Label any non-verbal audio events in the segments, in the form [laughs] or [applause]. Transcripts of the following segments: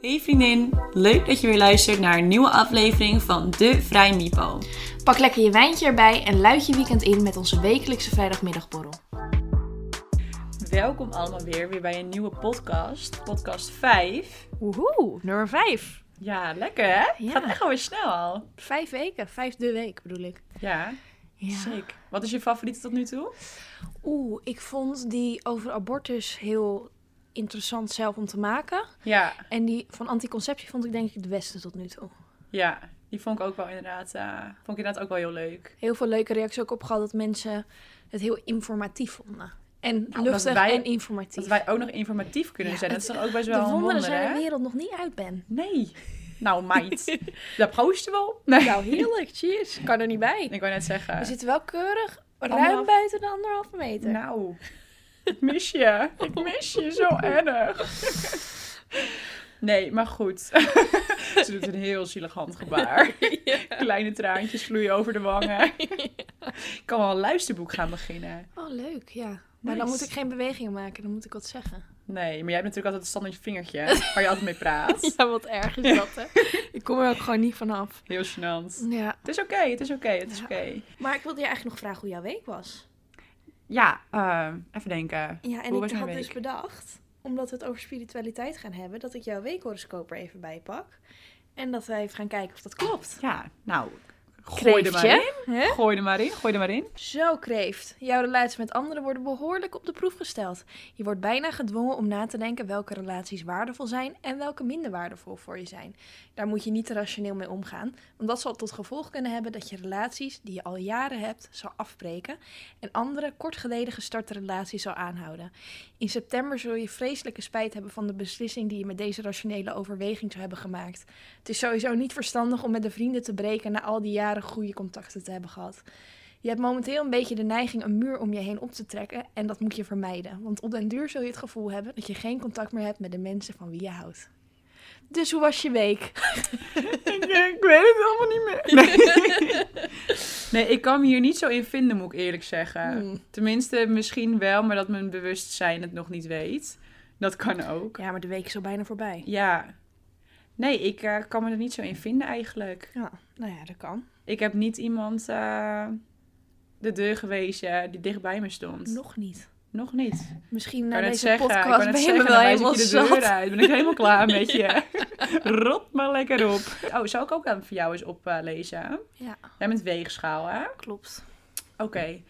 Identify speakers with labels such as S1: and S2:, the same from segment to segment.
S1: Hey vriendin, leuk dat je weer luistert naar een nieuwe aflevering van De Vrij Mipo.
S2: Pak lekker je wijntje erbij en luid je weekend in met onze wekelijkse vrijdagmiddagborrel.
S1: Welkom allemaal weer, weer bij een nieuwe podcast, podcast 5.
S2: Woehoe, nummer 5.
S1: Ja, lekker hè?
S2: Ja.
S1: Gaat echt alweer snel al.
S2: Vijf weken, vijfde week bedoel ik.
S1: Ja, sick. Wat is je favoriete tot nu toe?
S2: Oeh, ik vond die over abortus heel interessant zelf om te maken.
S1: Ja,
S2: En die van anticonceptie vond ik denk ik het beste tot nu toe.
S1: ja. Die vond ik ook wel inderdaad, eh, vond ik inderdaad ook wel heel leuk.
S2: Heel veel leuke reacties ook op gehad dat mensen het heel informatief vonden. En
S1: omdat
S2: luchtig
S1: wij-
S2: en informatief.
S1: Dat wij ook nog informatief kunnen
S2: Ja,
S1: zijn, dat is
S2: het-
S1: toch ook best wel
S2: de
S1: een
S2: wonderen
S1: wonder
S2: zijn de
S1: hè?
S2: wereld nog niet uit, Ben.
S1: Nee. Nou
S2: [laughs]
S1: meid, daar proosten we op. Nee.
S2: Nou, heerlijk. Cheers. Kan er niet bij.
S1: Ik wou net zeggen.
S2: We zitten wel keurig ruim
S1: Anderhalf-
S2: buiten de anderhalve meter.
S1: Nou, ik mis je. Ik mis je zo erg. Nee, maar
S2: [laughs]
S1: goed. Ze doet een heel zielig handgebaar. Kleine traantjes vloeien over de wangen. Ik kan wel een luisterboek gaan beginnen.
S2: Oh, leuk, ja. Maar dan
S1: Nice.
S2: moet ik geen bewegingen maken, dan moet ik wat zeggen.
S1: Nee, maar jij hebt natuurlijk altijd een standaard vingertje waar je altijd mee praat.
S2: [laughs] [laughs] Ja, wat erg is dat, hè? [laughs] ik kom er ook gewoon niet vanaf.
S1: Heel gênant.
S2: Ja.
S1: Het is oké, het is oké, het is
S2: Ja.
S1: oké.
S2: Maar ik wilde je eigenlijk nog vragen hoe jouw week was.
S1: Ja, ehm, even denken.
S2: Ja, en
S1: Hoe was mijn
S2: ik had
S1: week?
S2: dus bedacht, omdat we het over spiritualiteit gaan hebben, dat ik jouw weekhoroscoop er even bij pak. En dat wij even gaan kijken of dat klopt.
S1: Ja, nou, gooi er maar in. Gooi er maar in, gooi er maar in.
S2: Zo kreeft. Jouw relaties met anderen worden behoorlijk op de proef gesteld. Je wordt bijna gedwongen om na te denken welke relaties waardevol zijn en welke minder waardevol voor je zijn. Daar moet je niet te rationeel mee omgaan, want dat zal tot gevolg kunnen hebben dat je relaties die je al jaren hebt zal afbreken en andere kort geleden gestarte relaties zal aanhouden. In september zul je vreselijke spijt hebben van de beslissing die je met deze rationele overweging zou hebben gemaakt. Het is sowieso niet verstandig om met de vrienden te breken na al die jaren goede contacten te hebben gehad. Je hebt momenteel een beetje de neiging een muur om je heen op te trekken en dat moet je vermijden. Want op den duur zul je het gevoel hebben dat je geen contact meer hebt met de mensen van wie je houdt. Dus hoe was je week?
S1: Ik, eh, ik weet het allemaal niet meer. Nee. nee, ik kan me hier niet zo in vinden, moet ik eerlijk zeggen.
S2: Hmm.
S1: Tenminste, misschien wel, maar dat mijn bewustzijn het nog niet weet. Dat kan ook.
S2: Ja, maar de week is al bijna voorbij.
S1: Ja. Nee, ik eh, kan me er niet zo in vinden eigenlijk.
S2: Ja, nou ja, dat kan.
S1: Ik heb niet iemand eh, de deur gewezen die dicht bij me stond. Nog,
S2: Nog niet.
S1: niet.
S2: Misschien
S1: Ik
S2: na
S1: kan
S2: deze
S1: het zeggen. Ik
S2: podcast
S1: kan het
S2: ben je me
S1: zeggen.
S2: wel
S1: Dan wijs
S2: helemaal
S1: ik je de deur
S2: zat.
S1: uit. Ben ik helemaal [laughs] klaar met je. Rot maar lekker op. Oh, zou ik ook aan voor jou eens oplezen?
S2: Ja,
S1: Jij bent weegschaal, hè?
S2: klopt.
S1: Oké,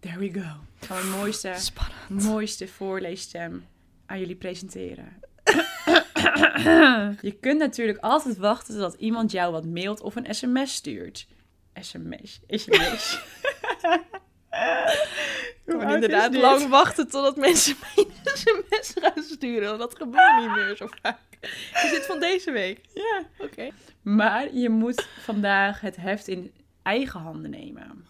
S1: there we go. Gaan we het mooiste,
S2: Spannend.
S1: mooiste voorleesstem aan jullie presenteren. Je kunt natuurlijk altijd wachten totdat iemand jou wat mailt of een sms stuurt. SMS, [laughs] sms. Hoe oud is
S2: inderdaad
S1: dit?
S2: lang wachten totdat mensen [laughs] mij een sms gaan sturen. Want dat gebeurt niet meer zo vaak. Is dit van deze week?
S1: Ja.
S2: Oké.
S1: Maar je moet vandaag het heft in eigen handen nemen.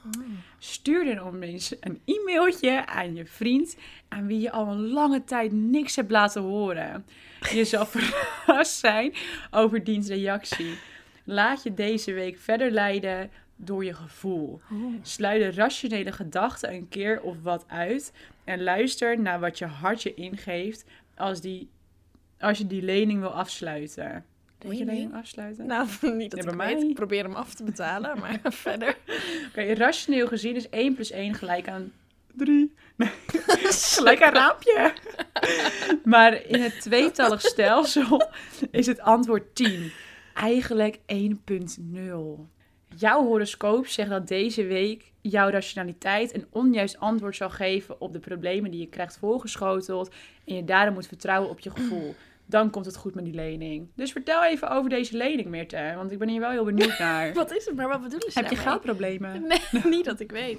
S1: Stuur dan om eens een e-mailtje aan je vriend aan wie je al een lange tijd niks hebt laten horen. Je zal verrast zijn over diens reactie. Laat je deze week verder leiden door je gevoel.
S2: Oh,
S1: Sluit de rationele gedachten een keer of wat uit en luister naar wat je hart je ingeeft als, die, als je die lening wil afsluiten. Moet je lening afsluiten?
S2: Nou, [laughs] niet dat
S1: Ja,
S2: ik
S1: bij
S2: het weet.
S1: mij.
S2: Ik probeer hem af te betalen, maar
S1: [laughs]
S2: verder.
S1: Oké, rationeel gezien is 1 plus 1 gelijk aan 3. Gelijk aan raampje. [laughs] maar in het tweetallig stelsel is het antwoord 10. Eigenlijk 1.0. Jouw horoscoop zegt dat deze week jouw rationaliteit een onjuist antwoord zal geven op de problemen die je krijgt voorgeschoteld. En je daarom moet vertrouwen op je gevoel. Dan komt het goed met die lening. Dus vertel even over deze lening, Meerte. Want ik ben hier wel heel benieuwd [laughs] naar.
S2: Wat is het? Maar wat bedoelen ze
S1: Heb je
S2: daarmee?
S1: geldproblemen?
S2: Nee, [laughs] niet dat ik weet.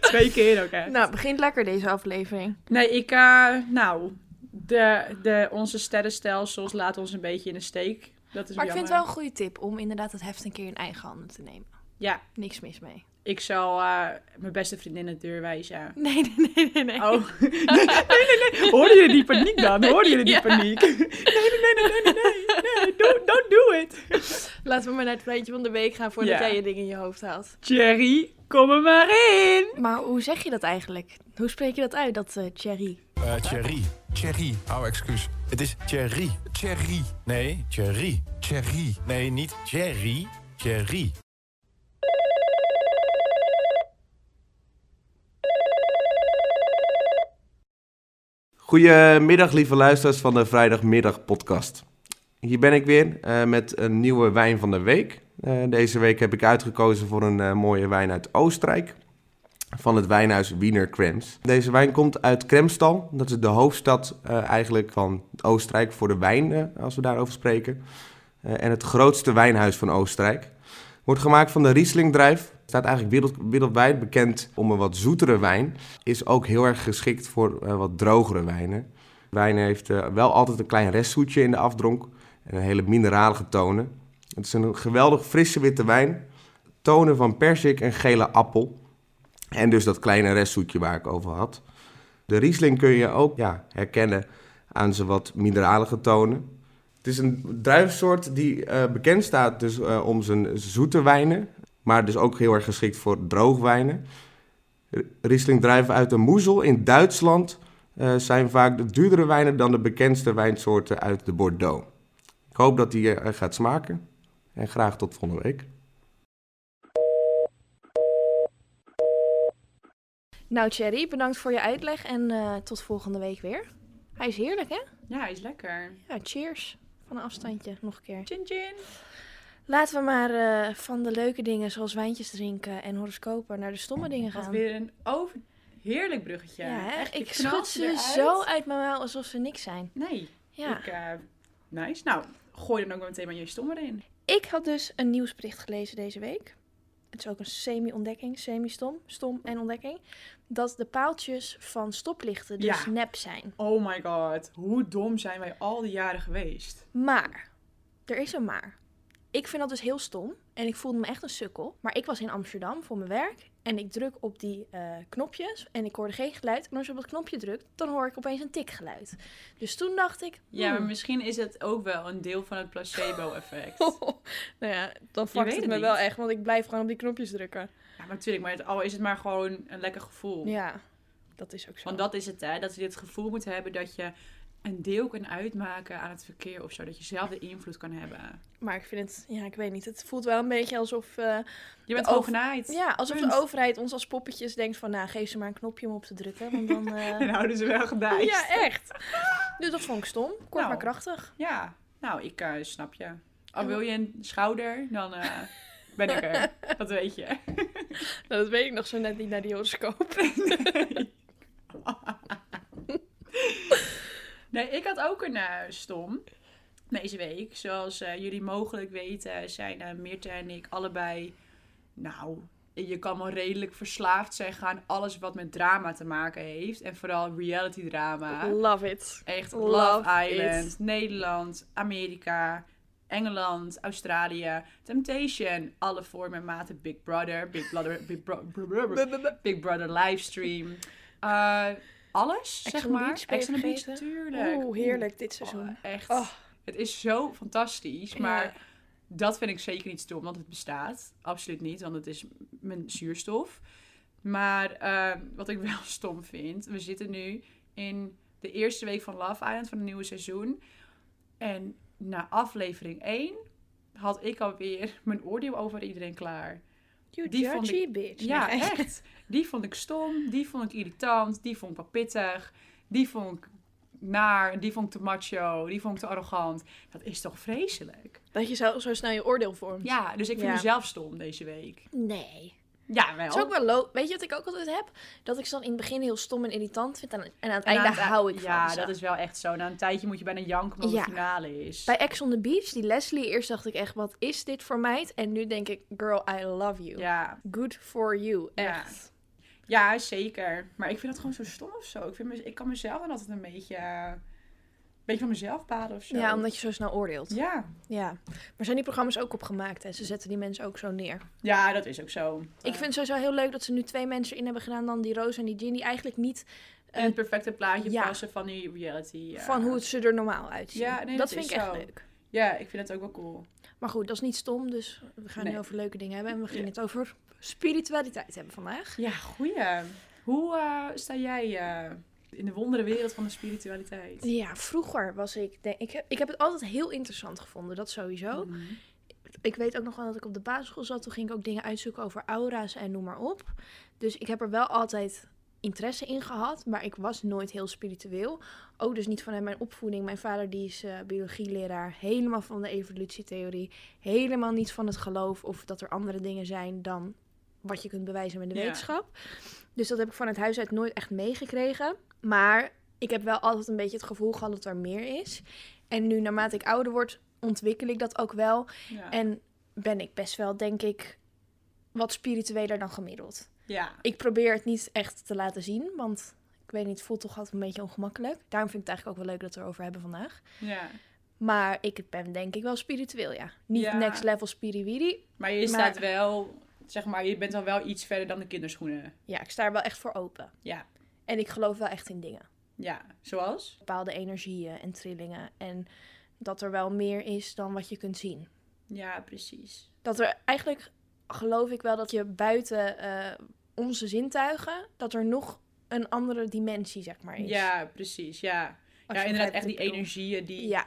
S1: Twee keer ook, hè?
S2: Nou, begint lekker deze aflevering.
S1: Nee, ik... eh, nou, de, de, onze sterrenstelsels laten ons een beetje in de steek. Dat is
S2: Maar ik
S1: jammer.
S2: vind het wel een goede tip om inderdaad het heft een keer in eigen handen te nemen.
S1: Ja,
S2: Niks mis mee.
S1: ik zal eh, mijn beste vriendin de deur wijzen.
S2: Nee, nee, nee, nee. nee.
S1: Oh, [laughs] nee, nee, nee, nee. Hoorden jullie die paniek dan? Hoorden jullie die
S2: Ja.
S1: paniek? [laughs] Nee, nee, nee, nee, nee, nee, nee. nee. Don't, don't do it.
S2: Laten we maar naar het feitje van de week gaan voordat
S1: Ja.
S2: jij je ding in je hoofd haalt.
S1: Jerry, kom er maar in.
S2: Maar hoe zeg je dat eigenlijk? Hoe spreek je dat uit, dat eh Thierry?
S3: Eh Thierry. Thierry.
S4: Oh, excuus.
S3: Het is Thierry.
S4: Thierry.
S3: Nee, Thierry.
S4: Thierry.
S3: Nee, niet Thierry. Thierry.
S5: Goedemiddag, lieve luisteraars van de Vrijdagmiddag Podcast. Hier ben ik weer eh, met een nieuwe wijn van de week. Eh, deze week heb ik uitgekozen voor een eh, mooie wijn uit Oostenrijk. Van het wijnhuis Wiener Krems. Deze wijn komt uit Kremstal. Dat is de hoofdstad eh, eigenlijk van Oostenrijk voor de wijn, eh, als we daarover spreken. Eh, en het grootste wijnhuis van Oostenrijk. Wordt gemaakt van de Rieslingdrijf. Staat eigenlijk wereld- wereldwijd bekend om een wat zoetere wijn is ook heel erg geschikt voor eh, wat drogere wijnen. Wijn heeft eh, wel altijd een klein restzoetje in de afdronk en een hele mineralige tonen. Het is een geweldig frisse witte wijn, tonen van persik en gele appel en dus dat kleine restzoetje waar ik over had. De Riesling kun je ook ja, herkennen aan zijn wat mineralige tonen. Het is een druifsoort die eh, bekend staat dus, eh, om zijn zoete wijnen, maar dus ook heel erg geschikt voor droogwijnen. Riesling druiven uit de moezel in Duitsland eh, zijn vaak de duurdere wijnen dan de bekendste wijnsoorten uit de Bordeaux. Ik hoop dat die eh, gaat smaken en graag tot volgende week.
S2: Nou, Thierry, bedankt voor je uitleg en eh, tot volgende week weer. Hij is heerlijk, hè?
S1: Ja, hij is lekker.
S2: Ja, cheers. Van een afstandje, nog een keer.
S1: Chin chin.
S2: Laten we maar eh, van de leuke dingen zoals wijntjes drinken en horoscopen naar de stomme dingen
S1: Wat
S2: gaan.
S1: weer een over... heerlijk bruggetje.
S2: ja, hè?
S1: Echt, je
S2: ik
S1: knalt
S2: schud ze
S1: eruit.
S2: zo uit mijn mouw alsof ze niks zijn.
S1: Nee,
S2: Ja.
S1: ik... eh, nice. Nou, gooi dan ook maar meteen maar je stommer in.
S2: Ik had dus een nieuwsbericht gelezen deze week. Het is ook een semi-ontdekking, semi-stom, stom en ontdekking. Dat de paaltjes van stoplichten dus
S1: Ja.
S2: nep zijn.
S1: Oh my god, hoe dom zijn wij al die jaren geweest.
S2: Maar, er is een maar. Ik vind dat dus heel stom en ik voelde me echt een sukkel. Maar ik was in Amsterdam voor mijn werk en ik druk op die eh, knopjes en ik hoorde geen geluid. En als je op dat knopje drukt, dan hoor ik opeens een tikgeluid. Dus toen dacht ik,
S1: Ja, maar
S2: hmm.
S1: misschien is het ook wel een deel van het placebo-effect.
S2: [laughs] nou ja, dan
S1: weet
S2: fuckt het
S1: het
S2: me
S1: niet.
S2: wel echt, want ik blijf gewoon op die knopjes drukken.
S1: [laughs] ja, maar natuurlijk, maar het, al is het maar gewoon een lekker gevoel.
S2: Ja, dat is ook zo.
S1: Want dat is het, hè? Dat je het gevoel moet hebben dat je een deel kan uitmaken aan het verkeer of zo. Dat je zelf de invloed kan hebben.
S2: Maar ik vind het, ja, ik weet niet. Het voelt wel een beetje alsof, eh,
S1: Je bent
S2: De
S1: gewoon
S2: over-
S1: genaaid. [laughs]
S2: ja, alsof
S1: Punt.
S2: de overheid ons als poppetjes denkt van, nou, geef ze maar een knopje om op te drukken,
S1: [laughs]
S2: want dan... eh,
S1: En houden ze wel gedijst.
S2: Ja, echt. Dus dat vond ik stom. Kort
S1: Nou.
S2: maar krachtig.
S1: Ja, nou, ik eh, snap je. Al wil je een schouder, dan eh, ben ik er.
S2: [laughs]
S1: Dat weet je.
S2: Nou, dat weet ik nog zo net niet naar die horoscoop.
S1: Nee, ik had ook een eh, stom deze week. Zoals eh, jullie mogelijk weten zijn eh Meerte en ik allebei... Nou, je kan wel redelijk verslaafd zijn gaan alles wat met drama te maken heeft. En vooral reality drama.
S2: [laughs] Love it.
S1: Echt
S2: Love
S1: Love,
S2: it.
S1: Island, Nederland, Amerika, Engeland, Australië, Temptation, alle vormen en maten, Big Brother, Big Brother, [laughs] Big, Bro- Bro- Bro- Bro- Big Brother livestream, Eh, alles
S2: Ex
S1: zeg
S2: on the
S1: maar.
S2: Beach, ben je
S1: Ex on the Beach,
S2: vergeten?
S1: tuurlijk.
S2: Oeh, heerlijk dit seizoen.
S1: Oh, echt.
S2: Oh.
S1: Het is zo fantastisch, maar
S2: Ja.
S1: dat vind ik zeker niet stom, want het bestaat. Absoluut niet, want het is m- mijn zuurstof. Maar eh, wat ik wel [laughs] stom vind, we zitten nu in de eerste week van Love Island van het nieuwe seizoen. En na aflevering 1 had ik alweer mijn oordeel over iedereen klaar.
S2: You
S1: Die vond
S2: judgy bitch.
S1: Ja,
S2: Nee.
S1: echt. Die vond ik stom, die vond ik irritant, die vond ik wat pittig, die vond ik naar, die vond ik te macho, die vond ik te arrogant. Dat is toch vreselijk?
S2: Dat je zo, zo snel je oordeel vormt.
S1: Ja, dus ik vind
S2: Ja.
S1: mezelf stom deze week.
S2: Nee.
S1: Ja, wel.
S2: Het is ook wel lo- Weet je wat ik ook altijd heb? Dat ik ze dan in het begin heel stom en irritant vind. En, en aan het
S1: En
S2: einde
S1: aan het- e-
S2: hou ik
S1: eh, Ja,
S2: van ze.
S1: dat is wel echt zo. Na een tijdje moet je bijna janken omdat
S2: Ja.
S1: het finale is.
S2: Bij Ex on the Beach, die Leslie, eerst dacht ik echt, wat is dit voor meid? En nu denk ik, girl, I love you.
S1: Ja.
S2: Good for you,
S1: Ja.
S2: echt.
S1: ja, zeker. Maar ik vind dat gewoon zo stom of zo. Ik, vind mez- ik kan mezelf dan altijd een beetje, eh, een beetje van mezelf baden of zo.
S2: Ja, omdat je zo snel oordeelt.
S1: ja.
S2: Ja, maar zijn die programma's ook opgemaakt en ze zetten die mensen ook zo neer?
S1: ja, dat is ook zo.
S2: Ik vind het sowieso heel leuk dat ze nu twee mensen in hebben gedaan, dan die Roos en die Ginny, die eigenlijk niet
S1: En het perfecte plaatje
S2: ja.
S1: passen van die reality. eh, ja.
S2: van hoe het ze er normaal uitzien.
S1: Ja, nee,
S2: dat,
S1: dat
S2: vind
S1: is
S2: ik echt
S1: zo.
S2: leuk.
S1: Ja, ik vind dat ook wel cool.
S2: Maar goed, dat is niet stom, dus we gaan nu
S1: Nee.
S2: over leuke dingen hebben en we gingen
S1: Ja.
S2: het over spiritualiteit hebben vandaag.
S1: Ja, goeie. Hoe eh, sta jij eh, in de wondere wereld van de spiritualiteit.
S2: Ja, vroeger was ik... Denk, ik, heb, ik heb het altijd heel interessant gevonden, dat sowieso.
S1: Mhm.
S2: Ik weet ook nog wel dat ik op de basisschool zat. Toen ging ik ook dingen uitzoeken over aura's en noem maar op. Dus ik heb er wel altijd interesse in gehad. Maar ik was nooit heel spiritueel. Ook dus niet vanuit mijn opvoeding. Mijn vader die is eh, biologieleraar. Helemaal van de evolutietheorie. Helemaal niet van het geloof of dat er andere dingen zijn dan wat je kunt bewijzen met de
S1: Ja.
S2: wetenschap. Dus dat heb ik van het huis uit nooit echt meegekregen. Maar ik heb wel altijd een beetje het gevoel gehad dat er meer is. En nu naarmate ik ouder word, ontwikkel ik dat ook wel.
S1: Ja.
S2: En ben ik best wel, denk ik, wat spiritueler dan gemiddeld.
S1: ja.
S2: Ik probeer het niet echt te laten zien, want ik weet niet, het voelt toch altijd een beetje ongemakkelijk. Daarom vind ik het eigenlijk ook wel leuk dat we het erover hebben vandaag.
S1: ja.
S2: Maar ik ben denk ik wel spiritueel, ja. Niet
S1: Ja.
S2: next level spiriwiri.
S1: Maar je
S2: Maar-
S1: staat wel, zeg maar, je bent dan wel iets verder dan de kinderschoenen.
S2: Ja, ik sta er wel echt voor open.
S1: Ja.
S2: En ik geloof wel echt in dingen.
S1: Ja. Zoals?
S2: Bepaalde energieën en trillingen. En dat er wel meer is dan wat je kunt zien.
S1: Ja, precies.
S2: dat er eigenlijk geloof ik wel dat je buiten eh, onze zintuigen dat er nog een andere dimensie zeg maar is.
S1: Ja, precies. Ja.
S2: Als
S1: ja,
S2: je
S1: inderdaad,
S2: begrijpt
S1: echt
S2: wat
S1: die
S2: ik bedoel.
S1: energieën die
S2: Ja.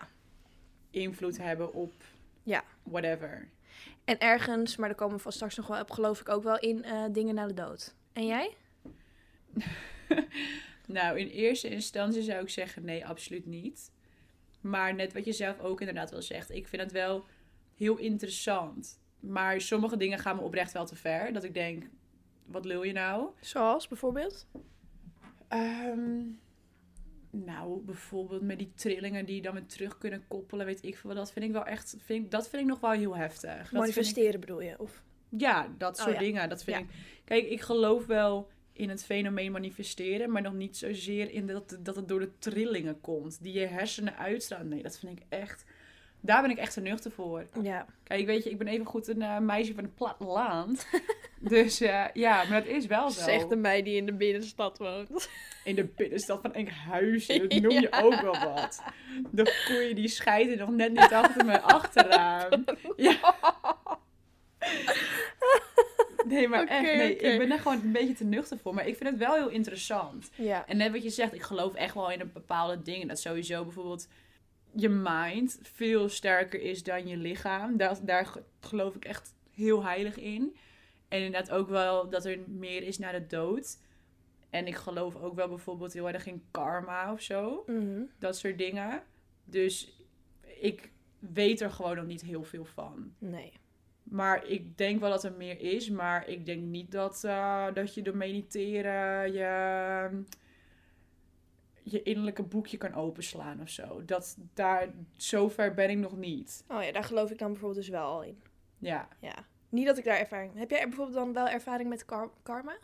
S1: invloed hebben op
S2: Ja.
S1: whatever.
S2: En ergens, maar daar komen we vast straks nog wel op, geloof ik ook wel in eh, dingen na de dood. En jij?
S1: Nou, in eerste instantie zou ik zeggen: nee, absoluut niet. Maar net wat je zelf ook inderdaad wel zegt, ik vind het wel heel interessant. Maar sommige dingen gaan me oprecht wel te ver. Dat ik denk: wat lul je nou?
S2: Zoals bijvoorbeeld?
S1: Ehm, nou, bijvoorbeeld met die trillingen die je dan weer terug kunnen koppelen, weet ik veel. wat. Dat vind ik wel echt, vind ik, dat vind ik nog wel heel heftig. Dat vind ik-
S2: Manifesteren bedoel je? Of?
S1: ja, dat
S2: Oh,
S1: soort
S2: ja.
S1: dingen. Dat vind
S2: Ja.
S1: ik. Kijk, ik geloof wel in het fenomeen manifesteren, maar nog niet zozeer in dat, dat het door de trillingen komt die je hersenen uitstaan. Nee, dat vind ik echt. Daar ben ik echt te nuchter voor.
S2: Ja.
S1: Kijk, weet je, ik ben even goed een eh, meisje van het
S2: [laughs]
S1: platteland. dus eh, ja, maar dat is wel zo.
S2: mij die in de binnenstad woont.
S1: In de binnenstad van Enkhuizen,
S2: [laughs]
S1: dat noem je ook wel wat. De koeien die scheiden nog net niet achter mijn
S2: [laughs]
S1: achterraam. Ja. Nee, maar
S2: Oké,
S1: echt, nee,
S2: oké.
S1: ik ben daar gewoon een beetje te nuchter voor. Maar ik vind het wel heel interessant.
S2: Ja.
S1: En net wat je zegt, ik geloof echt wel in een bepaalde dingen. Dat sowieso bijvoorbeeld je mind veel sterker is dan je lichaam. Daar, daar ge- geloof ik echt heel heilig in. En inderdaad ook wel dat er meer is na de dood. En ik geloof ook wel bijvoorbeeld heel erg in karma of zo.
S2: Mhm.
S1: Dat soort dingen. Dus ik weet er gewoon nog niet heel veel van.
S2: Nee.
S1: Maar ik denk wel dat er meer is. Maar ik denk niet dat, eh, dat je door mediteren je, mm, je innerlijke boekje kan openslaan of zo. Dat, daar, zover ben ik nog niet.
S2: Oh ja, daar geloof ik dan bijvoorbeeld dus wel al in.
S1: Ja.
S2: Ja. Niet dat ik daar ervaring... Heb jij bijvoorbeeld dan wel ervaring met kar- karma?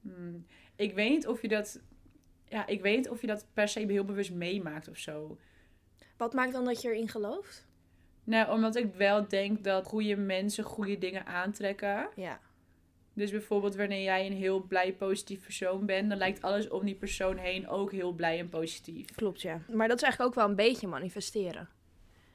S1: Hmm. Ik weet niet of je dat... Ja, ik weet niet of je dat per se heel bewust meemaakt of zo.
S2: Wat maakt dan dat je erin gelooft?
S1: Nou, omdat ik wel denk dat goede mensen goede dingen aantrekken.
S2: Ja.
S1: Dus bijvoorbeeld wanneer jij een heel blij, positief persoon bent... dan lijkt alles om die persoon heen ook heel blij en positief.
S2: Klopt, ja. Maar dat is eigenlijk ook wel een beetje manifesteren.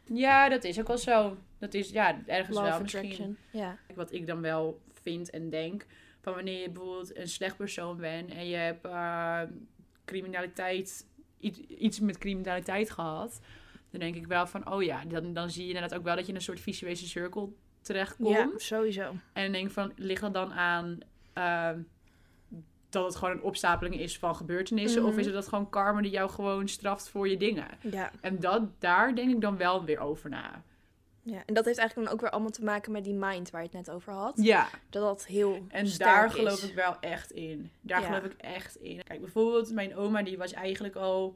S1: Ja, dat is ook wel zo. Dat is ja, ergens
S2: Law
S1: wel
S2: of
S1: misschien.
S2: attraction. Ja.
S1: Wat ik dan wel vind en denk. Van wanneer je bijvoorbeeld een slecht persoon bent en je hebt eh, criminaliteit, iets, iets met criminaliteit gehad. Dan denk ik wel van, oh ja, dan, dan zie je inderdaad ook wel dat je in een soort visuele cirkel terechtkomt.
S2: ja, sowieso.
S1: En dan denk ik van, ligt dat dan aan eh, dat het gewoon een opstapeling is van gebeurtenissen?
S2: Mhm.
S1: Of is het dat gewoon karma die jou gewoon straft voor je dingen?
S2: Ja.
S1: En dat, daar denk ik dan wel weer over na.
S2: ja. En dat heeft eigenlijk dan ook weer allemaal te maken met die mind waar je het net over had.
S1: Ja.
S2: Dat dat heel
S1: En
S2: sterk
S1: daar
S2: is.
S1: geloof ik wel echt in. Daar
S2: Ja.
S1: geloof ik echt in. Kijk, bijvoorbeeld mijn oma die was eigenlijk al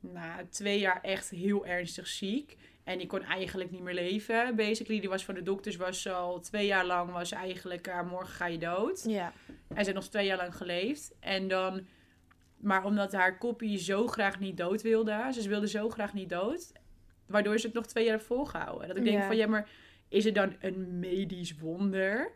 S1: na twee jaar echt heel ernstig ziek. En die kon eigenlijk niet meer leven, basically. Die was van de dokters, was al twee jaar lang, was eigenlijk, ah, morgen ga je dood.
S2: Ja.
S1: En ze heeft nog twee jaar lang geleefd. En dan, maar omdat haar koppie zo graag niet dood wilde, ze wilde zo graag niet dood, waardoor ze het nog twee jaar heeft volgehouden. Dat ik denk
S2: Ja.
S1: van, ja, maar is het dan een medisch wonder?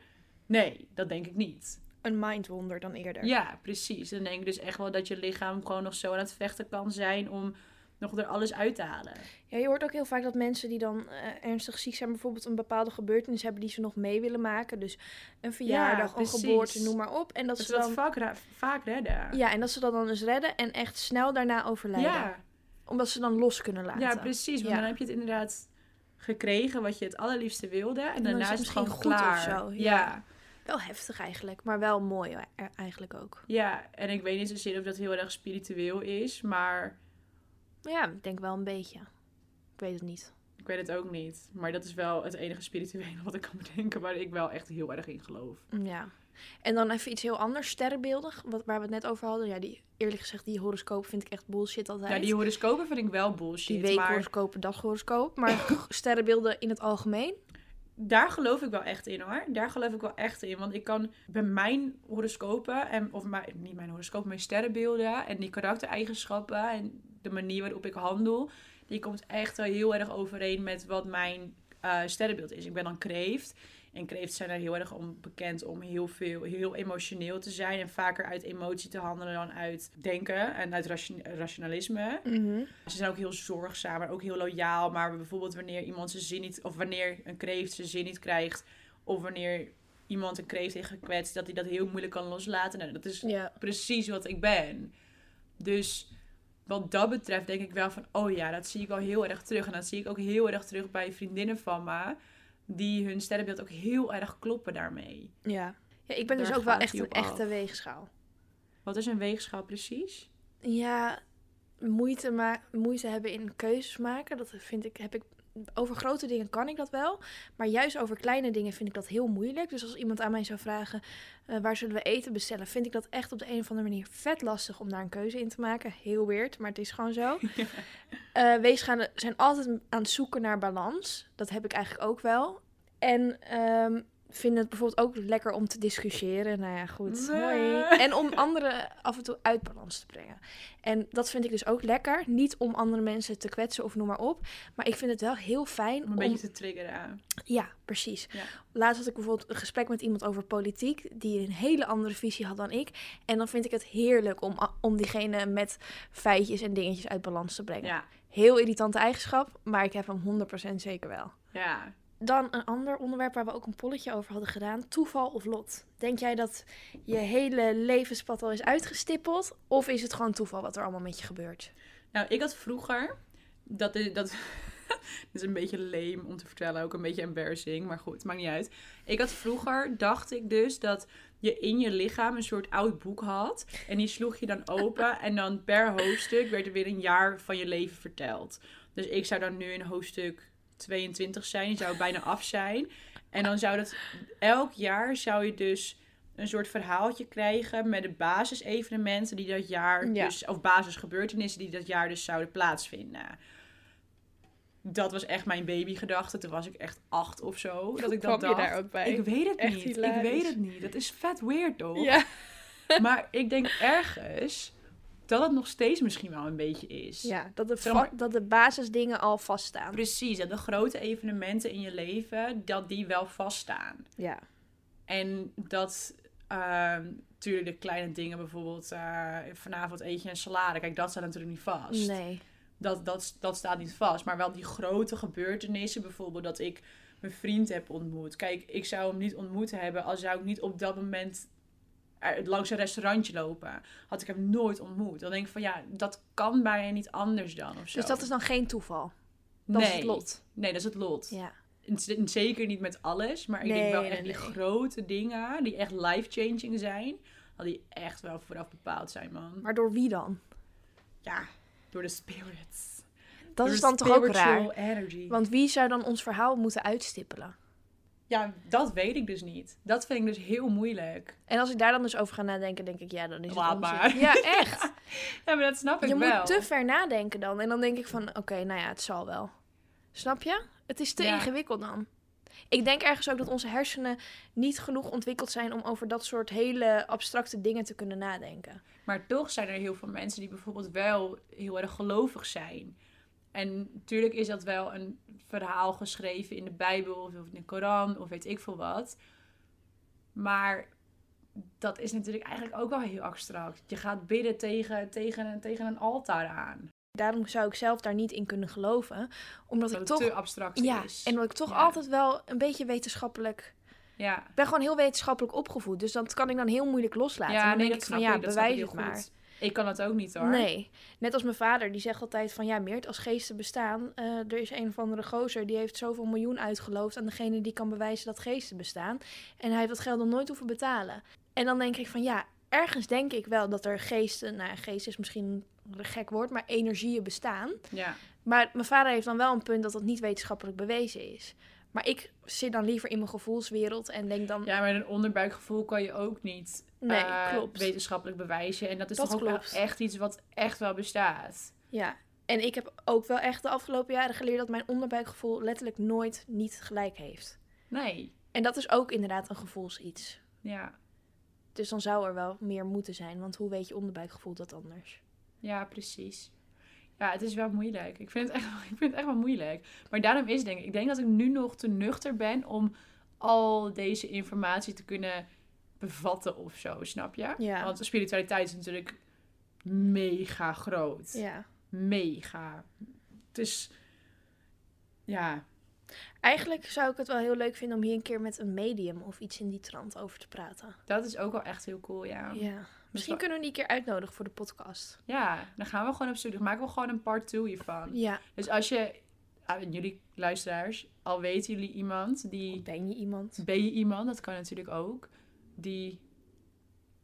S1: Nee, dat denk ik niet.
S2: Een mindwonder dan eerder.
S1: Ja, precies. Dan denk ik dus echt wel dat je lichaam gewoon nog zo aan het vechten kan zijn om nog er alles uit te halen.
S2: Ja, je hoort ook heel vaak dat mensen die dan eh, ernstig ziek zijn, bijvoorbeeld een bepaalde gebeurtenis hebben die ze nog mee willen maken. Dus een verjaardag, een
S1: precies.
S2: geboorte, noem maar op. En
S1: Dat
S2: dat,
S1: ze
S2: ze
S1: dat
S2: dan,
S1: vaak, ra- vaak redden.
S2: ja, en dat ze dat dan eens redden en echt snel daarna overlijden.
S1: ja,
S2: Omdat ze dan los kunnen laten.
S1: ja, precies. Want
S2: Ja.
S1: dan heb je het inderdaad gekregen wat je het allerliefste wilde. En,
S2: dan
S1: daarna
S2: is
S1: is
S2: het
S1: het
S2: misschien
S1: gewoon
S2: goed of
S1: klaar.
S2: zo, ja.
S1: ja.
S2: Wel heftig eigenlijk, maar wel mooi e- eigenlijk ook.
S1: Ja, en ik weet niet zozeer of dat heel erg spiritueel is, maar
S2: Maar ja, ik denk wel een beetje. Ik weet het niet.
S1: ik weet het ook niet. Maar dat is wel het enige spirituele [laughs] wat ik kan bedenken waar ik wel echt heel erg in geloof.
S2: Ja. En dan even iets heel anders, sterrenbeeldig, wat, waar we het net over hadden. Ja, die, eerlijk gezegd, die horoscoop vind ik echt bullshit altijd.
S1: Ja, die horoscopen vind ik wel bullshit,
S2: die
S1: maar
S2: weekhoroscoop, daghoroscoop. [laughs] Maar sterrenbeelden in het algemeen.
S1: daar geloof ik wel echt in hoor. Daar geloof ik wel echt in, want ik kan bij mijn horoscopen, en, of mijn, niet mijn horoscoop, mijn sterrenbeelden en die karaktereigenschappen en de manier waarop ik handel, die komt echt wel heel erg overeen met wat mijn eh, sterrenbeeld is. Ik ben dan kreeft. En kreeft zijn er heel erg om bekend om heel veel, heel emotioneel te zijn. En vaker uit emotie te handelen dan uit denken en uit ration- rationalisme.
S2: Mhm.
S1: Ze zijn ook heel zorgzaam, maar ook heel loyaal. Maar bijvoorbeeld wanneer iemand zijn zin niet, of wanneer een kreeft zijn zin niet krijgt, of wanneer iemand een kreeft heeft gekwetst, dat hij dat heel moeilijk kan loslaten. Nou, dat is
S2: Ja.
S1: precies wat ik ben. Dus wat dat betreft denk ik wel van, oh ja, dat zie ik wel heel erg terug. En dat zie ik ook heel erg terug bij vriendinnen van me, die hun sterrenbeeld ook heel erg kloppen daarmee.
S2: Ja. ja ik ben
S1: Daar
S2: dus ook
S1: gaat
S2: wel
S1: het
S2: echt
S1: hier
S2: een
S1: op
S2: echte
S1: af.
S2: weegschaal.
S1: Wat is een weegschaal precies?
S2: Ja, moeite, ma- moeite hebben in keuzes maken, dat vind ik, heb ik... Over grote dingen kan ik dat wel, maar juist over kleine dingen vind ik dat heel moeilijk. Dus als iemand aan mij zou vragen, eh, waar zullen we eten bestellen? Vind ik dat echt op de een of andere manier vet lastig om daar een keuze in te maken. Heel weird, maar het is gewoon zo. Eh, weesgaande zijn altijd aan het zoeken naar balans. Dat heb ik eigenlijk ook wel. En ehm vinden het bijvoorbeeld ook lekker om te discussiëren. Nou ja, goed.
S1: Nee.
S2: Hoi. En om anderen af en toe uit balans te brengen. En dat vind ik dus ook lekker. Niet om andere mensen te kwetsen of noem maar op. Maar ik vind het wel heel fijn
S1: Om een beetje te triggeren.
S2: ja, precies.
S1: Ja.
S2: Laatst had ik bijvoorbeeld een gesprek met iemand over politiek, die een hele andere visie had dan ik. En dan vind ik het heerlijk om, a- om diegene met feitjes en dingetjes uit balans te brengen.
S1: Ja,
S2: Heel irritante eigenschap, maar ik heb hem 100% zeker wel.
S1: ja.
S2: Dan een ander onderwerp waar we ook een polletje over hadden gedaan: toeval of lot. Denk jij dat je hele levenspad al is uitgestippeld? Of is het gewoon toeval wat er allemaal met je gebeurt?
S1: Nou, ik had vroeger. Dat is, dat, [laughs] dat is een beetje leem om te vertellen. Ook een beetje embarrassing. Maar goed, maakt niet uit. Ik had vroeger, dacht ik dus, dat je in je lichaam een soort oud boek had. En die sloeg je dan open. En dan per hoofdstuk werd er weer een jaar van je leven verteld. Dus ik zou dan nu in hoofdstuk 22 zijn. Die zou bijna af zijn. En dan zou dat elk jaar zou je dus een soort verhaaltje krijgen met de basisevenementen die dat jaar
S2: Ja.
S1: dus of basisgebeurtenissen die dat jaar dus zouden plaatsvinden. Dat was echt mijn babygedachte. Toen was ik echt acht of zo.
S2: [laughs]
S1: Dat ik dat dacht.
S2: ook
S1: Ik weet het
S2: Echt
S1: niet.
S2: hilarisch.
S1: Ik weet het niet. Dat is vet weird toch?
S2: Ja.
S1: [laughs] Maar ik denk ergens dat het nog steeds misschien wel een beetje is.
S2: ja, dat de,
S1: Zeg
S2: va-
S1: maar-
S2: dat de basisdingen al vaststaan.
S1: Precies, dat de grote evenementen in je leven, dat die wel vaststaan.
S2: Ja.
S1: En dat ehm natuurlijk de kleine dingen, bijvoorbeeld eh, vanavond eet je een salade. Kijk, dat staat natuurlijk niet vast.
S2: Nee.
S1: Dat, dat, dat staat niet vast. Maar wel die grote gebeurtenissen, bijvoorbeeld dat ik mijn vriend heb ontmoet. Kijk, ik zou hem niet ontmoet hebben als zou ik niet op dat moment er- langs een restaurantje lopen. Had ik hem nooit ontmoet. Dan denk ik van ja, dat kan bijna niet anders dan of zo.
S2: Dus dat is dan geen toeval. Dat is
S1: Nee.
S2: het lot.
S1: Nee, dat is het lot.
S2: Ja.
S1: En z- en Zeker niet met alles, maar ik
S2: Nee,
S1: denk wel
S2: nee,
S1: echt die
S2: nee.
S1: grote dingen die echt life-changing zijn, dat die echt wel vooraf bepaald zijn, man.
S2: Maar door wie dan?
S1: Ja, door de spirits.
S2: Dat
S1: Door
S2: is
S1: de
S2: dan toch ook
S1: spiritual
S2: raar?
S1: Energy.
S2: Dus Want wie zou dan ons verhaal moeten uitstippelen?
S1: Ja, dat weet ik dus niet. Dat vind ik dus heel moeilijk.
S2: En als ik daar dan dus over ga nadenken, denk ik, ja, dan is het
S1: Laat
S2: onzin.
S1: maar.
S2: Ja,
S1: [laughs]
S2: echt.
S1: Ja, maar dat snap ik
S2: Je
S1: wel.
S2: moet te ver nadenken dan. En dan denk ik van, oké, nou ja, het zal wel. Snap je? Het is te
S1: Ja.
S2: ingewikkeld dan. Ik denk ergens ook dat onze hersenen niet genoeg ontwikkeld zijn om over dat soort hele abstracte dingen te kunnen nadenken.
S1: Maar toch zijn er heel veel mensen die bijvoorbeeld wel heel erg gelovig zijn. En natuurlijk is dat wel een verhaal geschreven in de Bijbel of in de Koran of weet ik veel wat. Maar dat is natuurlijk eigenlijk ook wel heel abstract. Je gaat bidden tegen, tegen, tegen een altaar aan.
S2: Daarom zou ik zelf daar niet in kunnen geloven. Omdat
S1: Dat
S2: ik
S1: het
S2: toch.
S1: te abstract
S2: Ja,
S1: is.
S2: en omdat ik toch
S1: Ja.
S2: altijd wel een beetje wetenschappelijk.
S1: ja.
S2: Ik ben gewoon heel wetenschappelijk opgevoed. Dus dat kan ik dan heel moeilijk loslaten.
S1: Ja,
S2: En dan
S1: nee, dat
S2: denk ik
S1: snap
S2: van ja,
S1: ik. Dat snap ik
S2: bewijs
S1: heel
S2: het maar.
S1: goed. Ik kan dat ook niet hoor.
S2: Nee, net als mijn vader, die zegt altijd van ja, Meert, als geesten bestaan, eh, er is een of andere gozer die heeft zoveel miljoen uitgeloofd aan degene die kan bewijzen dat geesten bestaan. En hij heeft dat geld nog nooit hoeven betalen. En dan denk ik van ja, ergens denk ik wel dat er geesten, nou geest is misschien een gek woord, maar energieën bestaan.
S1: Ja.
S2: Maar mijn vader heeft dan wel een punt dat dat niet wetenschappelijk bewezen is. Maar ik zit dan liever in mijn gevoelswereld en denk dan,
S1: ja, maar een onderbuikgevoel kan je ook niet
S2: nee,
S1: eh,
S2: klopt.
S1: wetenschappelijk bewijzen. En dat is
S2: Dat
S1: toch ook wel
S2: klopt.
S1: echt iets wat echt wel bestaat.
S2: Ja, en ik heb ook wel echt de afgelopen jaren geleerd dat mijn onderbuikgevoel letterlijk nooit niet gelijk heeft.
S1: Nee.
S2: En dat is ook inderdaad een gevoelsiets.
S1: Ja.
S2: Dus dan zou er wel meer moeten zijn, want hoe weet je onderbuikgevoel dat anders?
S1: Ja, precies. Ja, het is wel moeilijk. Ik vind het echt, ik vind het echt wel [laughs] moeilijk. Maar daarom is het denk ik, ik denk dat ik nu nog te nuchter ben om al deze informatie te kunnen bevatten of zo, snap je?
S2: Ja.
S1: Want spiritualiteit is natuurlijk mega groot.
S2: Ja.
S1: Mega. Het is, ja,
S2: Eigenlijk zou ik het wel heel leuk vinden om hier een keer met een medium of iets in die trant over te praten.
S1: dat is ook wel echt heel cool, ja. Ja,
S2: Ja.
S1: wel-
S2: Misschien kunnen we die een keer uitnodigen voor de podcast.
S1: dan gaan we gewoon op zoek. Dan maken we gewoon een part 2 hiervan.
S2: Ja.
S1: Dus als je, ah, jullie luisteraars, al weten jullie iemand die...
S2: Ben je iemand
S1: Ben je iemand, dat kan natuurlijk ook, die.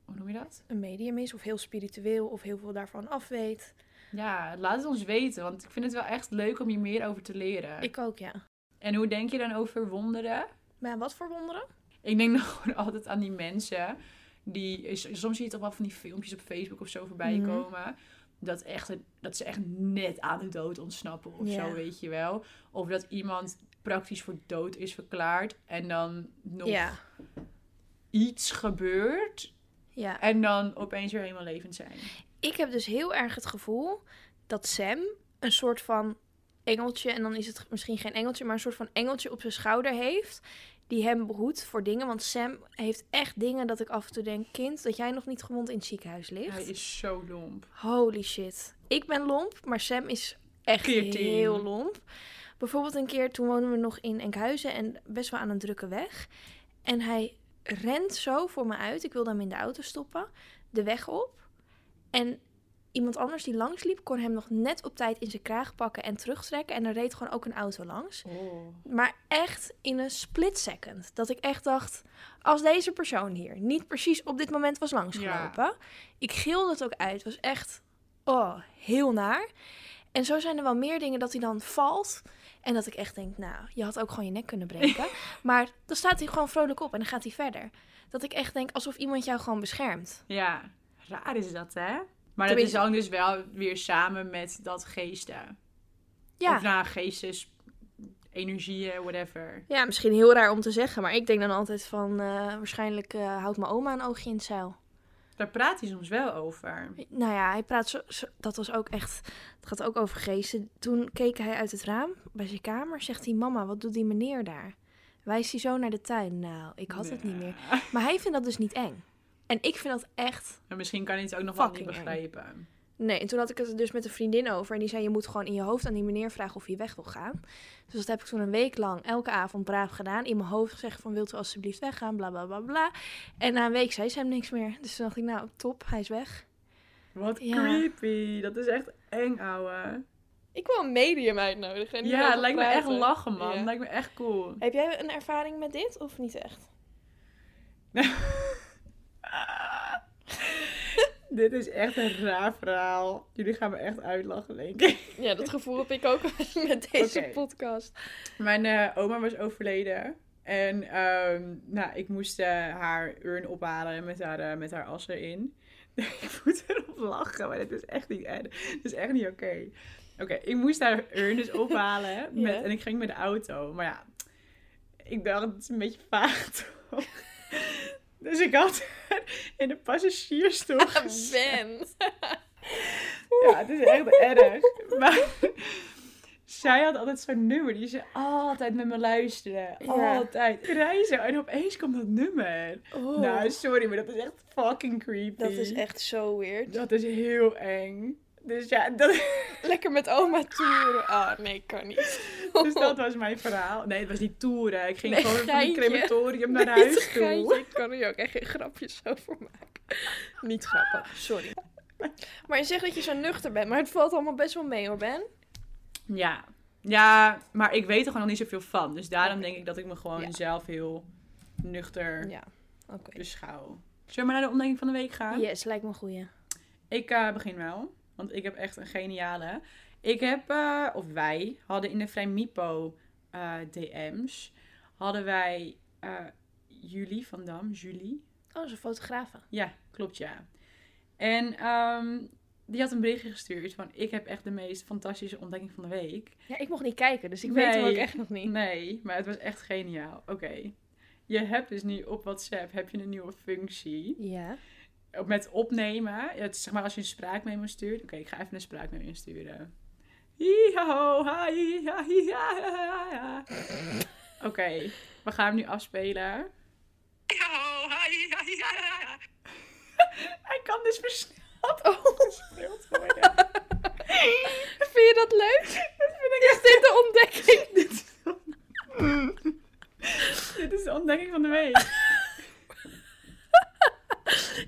S1: Hoe noem je dat?
S2: een medium is of heel spiritueel of heel veel daarvan af weet?
S1: Ja, laat het ons weten, want ik vind het wel echt leuk om hier meer over te leren.
S2: Ik ook, ja.
S1: En hoe denk je dan over wonderen?
S2: Maar wat voor wonderen?
S1: Ik denk [laughs] nog gewoon altijd aan die mensen die. Soms zie je toch wel van die filmpjes op Facebook of zo voorbij
S2: Mhm.
S1: komen. Dat, echt, een- dat ze echt net aan de dood ontsnappen of
S2: Ja.
S1: zo, weet je wel. Of dat iemand praktisch voor dood is verklaard en dan nog
S2: Ja.
S1: iets gebeurt.
S2: Ja.
S1: En dan opeens weer helemaal levend zijn.
S2: Ik heb dus heel erg het gevoel dat Sam een soort van engeltje, en dan is het misschien geen engeltje, maar een soort van engeltje op zijn schouder heeft. Die hem behoedt voor dingen. Want Sam heeft echt dingen dat ik af en toe denk: kind, dat jij nog niet gewond in het ziekenhuis
S1: Hij
S2: ligt.
S1: is zo domp.
S2: Holy shit. Ik ben lomp, maar Sam is echt
S1: Veertien.
S2: heel lomp. Bijvoorbeeld een keer, toen woonden we nog in Enkhuizen en best wel aan een drukke weg. En hij rent zo voor me uit. Ik wilde hem in de auto stoppen, de weg op. En iemand anders die langs liep, kon hem nog net op tijd in zijn kraag pakken en terugtrekken. En er reed gewoon ook een auto langs.
S1: Oh.
S2: Maar echt in een split second. Dat ik echt dacht, als deze persoon hier niet precies op dit moment was langsgelopen. Ik gilde het ook uit. Het was echt, oh, heel naar. En zo zijn er wel meer dingen dat hij dan valt. En dat ik echt denk, nou, je had ook gewoon je nek kunnen [laughs] breken. maar dan staat hij gewoon vrolijk op en dan gaat hij verder. Dat ik echt denk, alsof iemand jou gewoon beschermt.
S1: Ja, raar is dat, hè? Maar dat is
S2: Tenminste-
S1: dan dus wel weer samen met dat geesten.
S2: Ja.
S1: Of na geestes, energieën, whatever.
S2: Ja, misschien heel raar om te zeggen, maar ik denk dan altijd van... eh, waarschijnlijk eh, houdt mijn oma een oogje in het zeil.
S1: Daar praat hij soms wel over.
S2: Nou ja, hij praat zo, zo- dat was ook echt, het gaat ook over geesten. Toen keek hij uit het raam bij zijn kamer, zegt hij, mama, wat doet die meneer daar? Wijst hij zo naar de tuin? Nou, ik had het niet meer.
S1: Ja.
S2: Maar hij vindt dat dus niet eng. En ik vind dat echt,
S1: En misschien kan hij het ook nog wel niet
S2: Fucking eng.
S1: begrijpen.
S2: nee. En toen had ik het er dus met een vriendin over en die zei, je moet gewoon in je hoofd aan die meneer vragen of hij weg wil gaan. Dus dat heb ik toen een week lang elke avond braaf gedaan. In mijn hoofd gezegd van, wilt u alsjeblieft weggaan, bla bla bla bla. En na een week zei ze hem niks meer. Dus toen dacht ik, nou, top, hij is weg.
S1: Wat
S2: Ja.
S1: creepy. Dat is echt eng, ouwe.
S2: Ik wil een medium uitnodigen. en
S1: Ja,
S2: hierover
S1: het lijkt me
S2: praten.
S1: echt lachen, man.
S2: Ja.
S1: Lijkt me echt
S2: [laughs]
S1: cool. [laughs]
S2: Heb jij een ervaring met dit of niet echt?
S1: Dit is echt een raar verhaal. Jullie gaan me echt uitlachen, denk ik.
S2: Ja, dat gevoel heb ik ook [laughs] met
S1: deze Oké.
S2: podcast. [laughs]
S1: Mijn eh, oma was overleden. En ehm, nou, ik moest eh, haar urn ophalen met haar, eh, met haar as erin. [laughs] ik moet erop lachen, maar dit is echt niet, eh, dit is echt niet oké. Oké, ik moest haar urn dus ophalen. met, En ik ging met de auto. Maar ja, ik dacht, het is een beetje vaag toch? [laughs] dus ik had haar in de passagiersstoel gezet.
S2: Ben.
S1: Ja, het is echt erg. Maar [laughs] zij had altijd zo'n nummer die ze altijd met me luisterde.
S2: Ja.
S1: Altijd. Reizen. En opeens komt dat nummer.
S2: Oh.
S1: Nou, sorry, maar dat is echt fucking creepy.
S2: dat is echt zo weird. [laughs]
S1: Dat is heel eng. Dus ja, [laughs] dat,
S2: Lekker met oma toeren. Ah, nee, kan niet.
S1: dus dat was mijn verhaal. Nee, het was niet toeren. Ik ging
S2: Nee,
S1: gewoon van het
S2: geintje.
S1: crematorium naar huis toe.
S2: Ik kan er ook echt geen grapjes over maken. Niet grappig, sorry. Maar je zegt dat je zo nuchter bent, maar het valt allemaal best wel mee hoor, Ben.
S1: Ja. ja, maar ik weet er gewoon nog niet zoveel van. Dus daarom denk ik dat ik me gewoon
S2: Ja.
S1: zelf heel nuchter
S2: Ja, oké.
S1: beschouw. Zullen we maar naar de omdenking van de week gaan?
S2: Yes, lijkt me een goeie.
S1: Ik eh, begin wel, want ik heb echt een geniale. Ik heb, eh, of wij, hadden in de Vrijmipo eh, DM's, hadden wij eh, Julie van Dam, Julie,
S2: Oh, ze fotografen.
S1: Ja, klopt ja. En ehm, die had een berichtje gestuurd van ik heb echt de meest fantastische ontdekking van de week.
S2: Ja, ik mocht niet kijken, dus ik weet
S1: Nee.
S2: hem ook echt nog niet.
S1: Nee, maar het was echt geniaal. Oké. Je hebt dus nu op WhatsApp heb je een nieuwe functie.
S2: Ja.
S1: Met opnemen. Het is zeg maar als je een spraakmemo stuurt. Oké, ik ga even een spraakmemo insturen. Hi-ho, hi, ha, hi, ha, ha, ha. Oké, we gaan hem nu afspelen. [laughs] Hij kan dus versneld
S2: Oh,
S1: afgespeeld worden.
S2: [laughs]
S1: [laughs]
S2: Vind je dat leuk? Is dit de ontdekking?
S1: [laughs] Dit is de ontdekking van de week.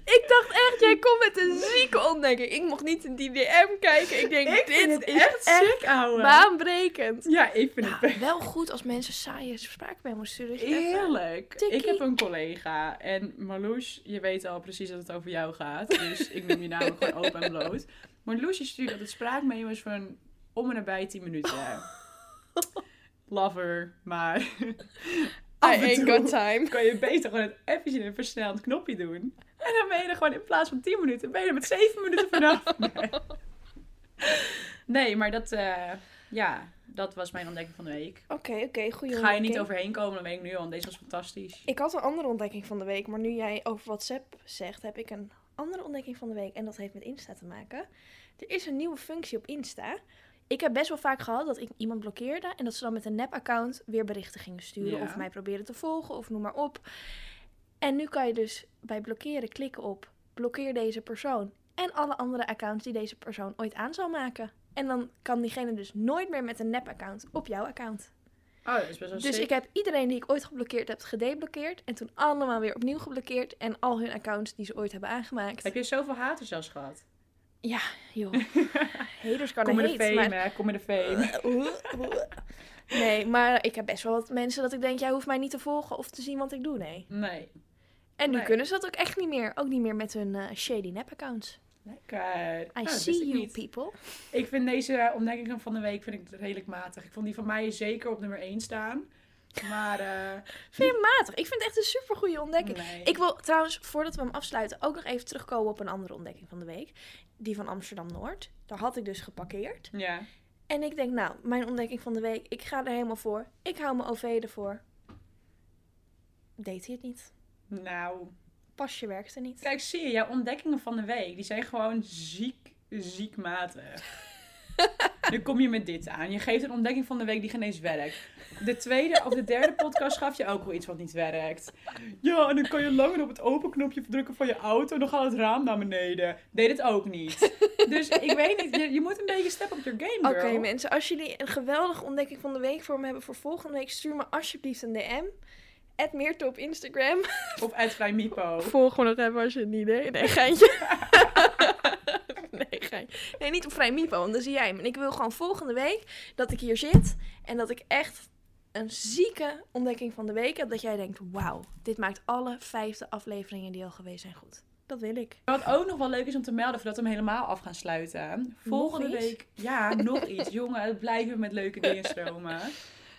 S2: ik dacht echt, jij komt met een zieke ontdekking. Ik mocht niet in die DM kijken. Ik denk,
S1: Ik
S2: dit
S1: vind het
S2: is echt, Nou,
S1: echt sick, ouwe.
S2: baanbrekend.
S1: Ja, ik vind het
S2: Ja, wel goed als mensen saaie spraakmemo's sturen. dat je echt-
S1: Heerlijk.
S2: tikkie.
S1: Ik heb een collega en Marloes, je weet al precies dat het over jou gaat. Dus ik neem je namelijk gewoon open en bloot. Marloes, je stuurt altijd spraakmemo's van om en nabij 10 minuten. Lover, maar af en
S2: I ain't
S1: toe
S2: got time.
S1: kan je beter gewoon het even in een versneld knopje doen. En dan ben je er gewoon in plaats van 10 minuten, ben je er met 7 minuten vanaf. Nee. Nee, maar dat, eh, ja, dat was mijn ontdekking van de week.
S2: Oké, oké, goeie
S1: Ga je niet
S2: ontdekking.
S1: overheen komen, dat weet ik nu al. want Deze was fantastisch.
S2: Ik had een andere ontdekking van de week, maar nu jij over WhatsApp zegt, heb ik een andere ontdekking van de week. En dat heeft met Insta te maken. Er is een nieuwe functie op Insta. Ik heb best wel vaak gehad dat ik iemand blokkeerde en dat ze dan met een nep-account weer berichten gingen sturen
S1: Ja.
S2: of mij proberen te volgen of noem maar op. En nu kan je dus bij blokkeren klikken op blokkeer deze persoon en alle andere accounts die deze persoon ooit aan zal maken. En dan kan diegene dus nooit meer met een nep-account op jouw account.
S1: Oh, dat is best wel
S2: Dus ik heb iedereen die ik ooit geblokkeerd heb, gedeblokkeerd. En toen allemaal weer opnieuw geblokkeerd. En al hun accounts die ze ooit hebben aangemaakt.
S1: Heb je zoveel haters zelfs gehad?
S2: Ja, joh.
S1: [laughs]
S2: Haters kan
S1: Kom
S2: er
S1: in de
S2: heet.
S1: fame,
S2: Maar... Eh.
S1: hè. Kom in de fame.
S2: Nee, maar ik heb best wel wat mensen dat ik denk... jij hoeft mij niet te volgen of te zien wat ik doe, nee.
S1: Nee.
S2: En nu
S1: Nee.
S2: kunnen ze dat ook echt niet meer. Ook niet meer met hun eh, shady nep-accounts.
S1: Lekker.
S2: I
S1: Nou, dat wist
S2: see
S1: ik
S2: you,
S1: niet.
S2: people.
S1: [laughs] Ik vind deze ontdekkingen van de week vind ik redelijk matig. Ik vond die van mij zeker op nummer 1 staan. Maar, eh,
S2: Vind je het matig? Ik vind het echt een supergoeie ontdekking.
S1: nee.
S2: Ik wil trouwens, voordat we hem afsluiten, ook nog even terugkomen op een andere ontdekking van de week. Die van Amsterdam-Noord. Daar had ik dus geparkeerd.
S1: Ja.
S2: En ik denk, nou, mijn ontdekking van de week, ik ga er helemaal voor. Ik hou mijn OV ervoor. Deed hij het niet.
S1: Nou.
S2: Pasje werkte niet.
S1: Kijk, zie je, jouw ontdekkingen van de week, die zijn gewoon ziek, ziek matig. Nu kom je met dit aan. Je geeft een ontdekking van de week die geen eens werkt. De tweede of de derde podcast gaf je ook wel iets wat niet werkt. Ja, en dan kan je langer op het openknopje drukken van je auto en dan gaat het raam naar beneden. Deed het ook niet. Dus ik weet niet, je, je moet een beetje step op your game,
S2: Oké
S1: girl.
S2: mensen, als jullie een geweldige ontdekking van de week voor me hebben voor volgende week, stuur me alsjeblieft een DM. Add Meerte op Instagram.
S1: Of at Vrij Mipo.
S2: Volg me nog even als je het niet deed. Nee, [laughs] geintje. nee, geintje. Nee, niet op Vrij Mipo, want dan zie jij hem. En ik wil gewoon volgende week dat ik hier zit en dat ik echt een zieke ontdekking van de week heb. Dat jij denkt, wauw, dit maakt alle vijfde afleveringen die al geweest zijn goed. Dat wil ik.
S1: Wat ook nog wel leuk is om te melden voordat we hem helemaal af gaan sluiten. Volgende
S2: iets?
S1: week. Ja, nog
S2: [laughs]
S1: iets. Jongen, het blijven met leuke dingen stromen.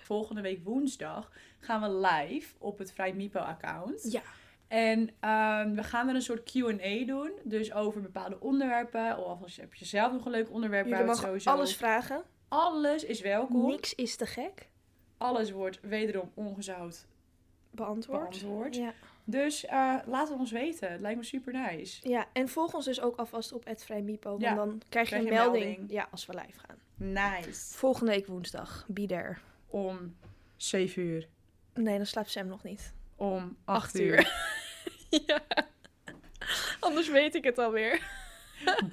S1: Volgende week woensdag gaan we live op het Vrij Mipo-account.
S2: Ja.
S1: En ehm, we gaan er een soort QA doen. Dus over bepaalde onderwerpen. Of als je, heb je zelf nog een leuk onderwerp
S2: Jullie
S1: waar we het
S2: mogen
S1: sowieso.
S2: alles vragen.
S1: alles is welkom.
S2: Niks is te gek.
S1: Alles wordt wederom ongezout
S2: Beantwoord.
S1: beantwoord.
S2: Ja.
S1: Dus eh, laat het ons weten. Het lijkt me super nice.
S2: ja, en volg ons dus ook alvast op het Vrij Mipo. Want
S1: Ja,
S2: dan krijg je een melding, Ja, als we live gaan.
S1: Nice.
S2: Volgende week woensdag. Be there.
S1: Om 7 uur.
S2: Nee, dan slaapt Sam nog niet.
S1: om [laughs]
S2: [laughs] Acht uur. ja. Anders weet ik het alweer.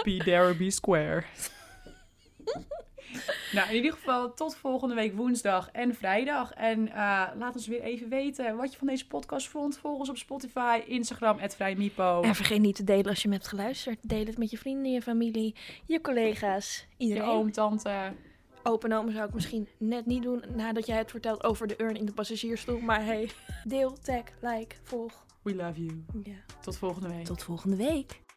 S1: Be there, be square. nou, in ieder geval tot volgende week woensdag en vrijdag. En eh, laat ons weer even weten wat je van deze podcast vond. Volg ons op Spotify, Instagram, @vrijmipo.
S2: En vergeet niet te delen als je hem hebt geluisterd. Deel het met je vrienden, je familie, je collega's,
S1: Je
S2: iedereen.
S1: oom, tante.
S2: Open en oom zou ik misschien net niet doen nadat jij het vertelt over de urn in de passagiersstoel. Maar [laughs] hey, deel, tag, like, volg.
S1: We love you.
S2: Ja.
S1: Tot volgende week.
S2: Tot volgende week.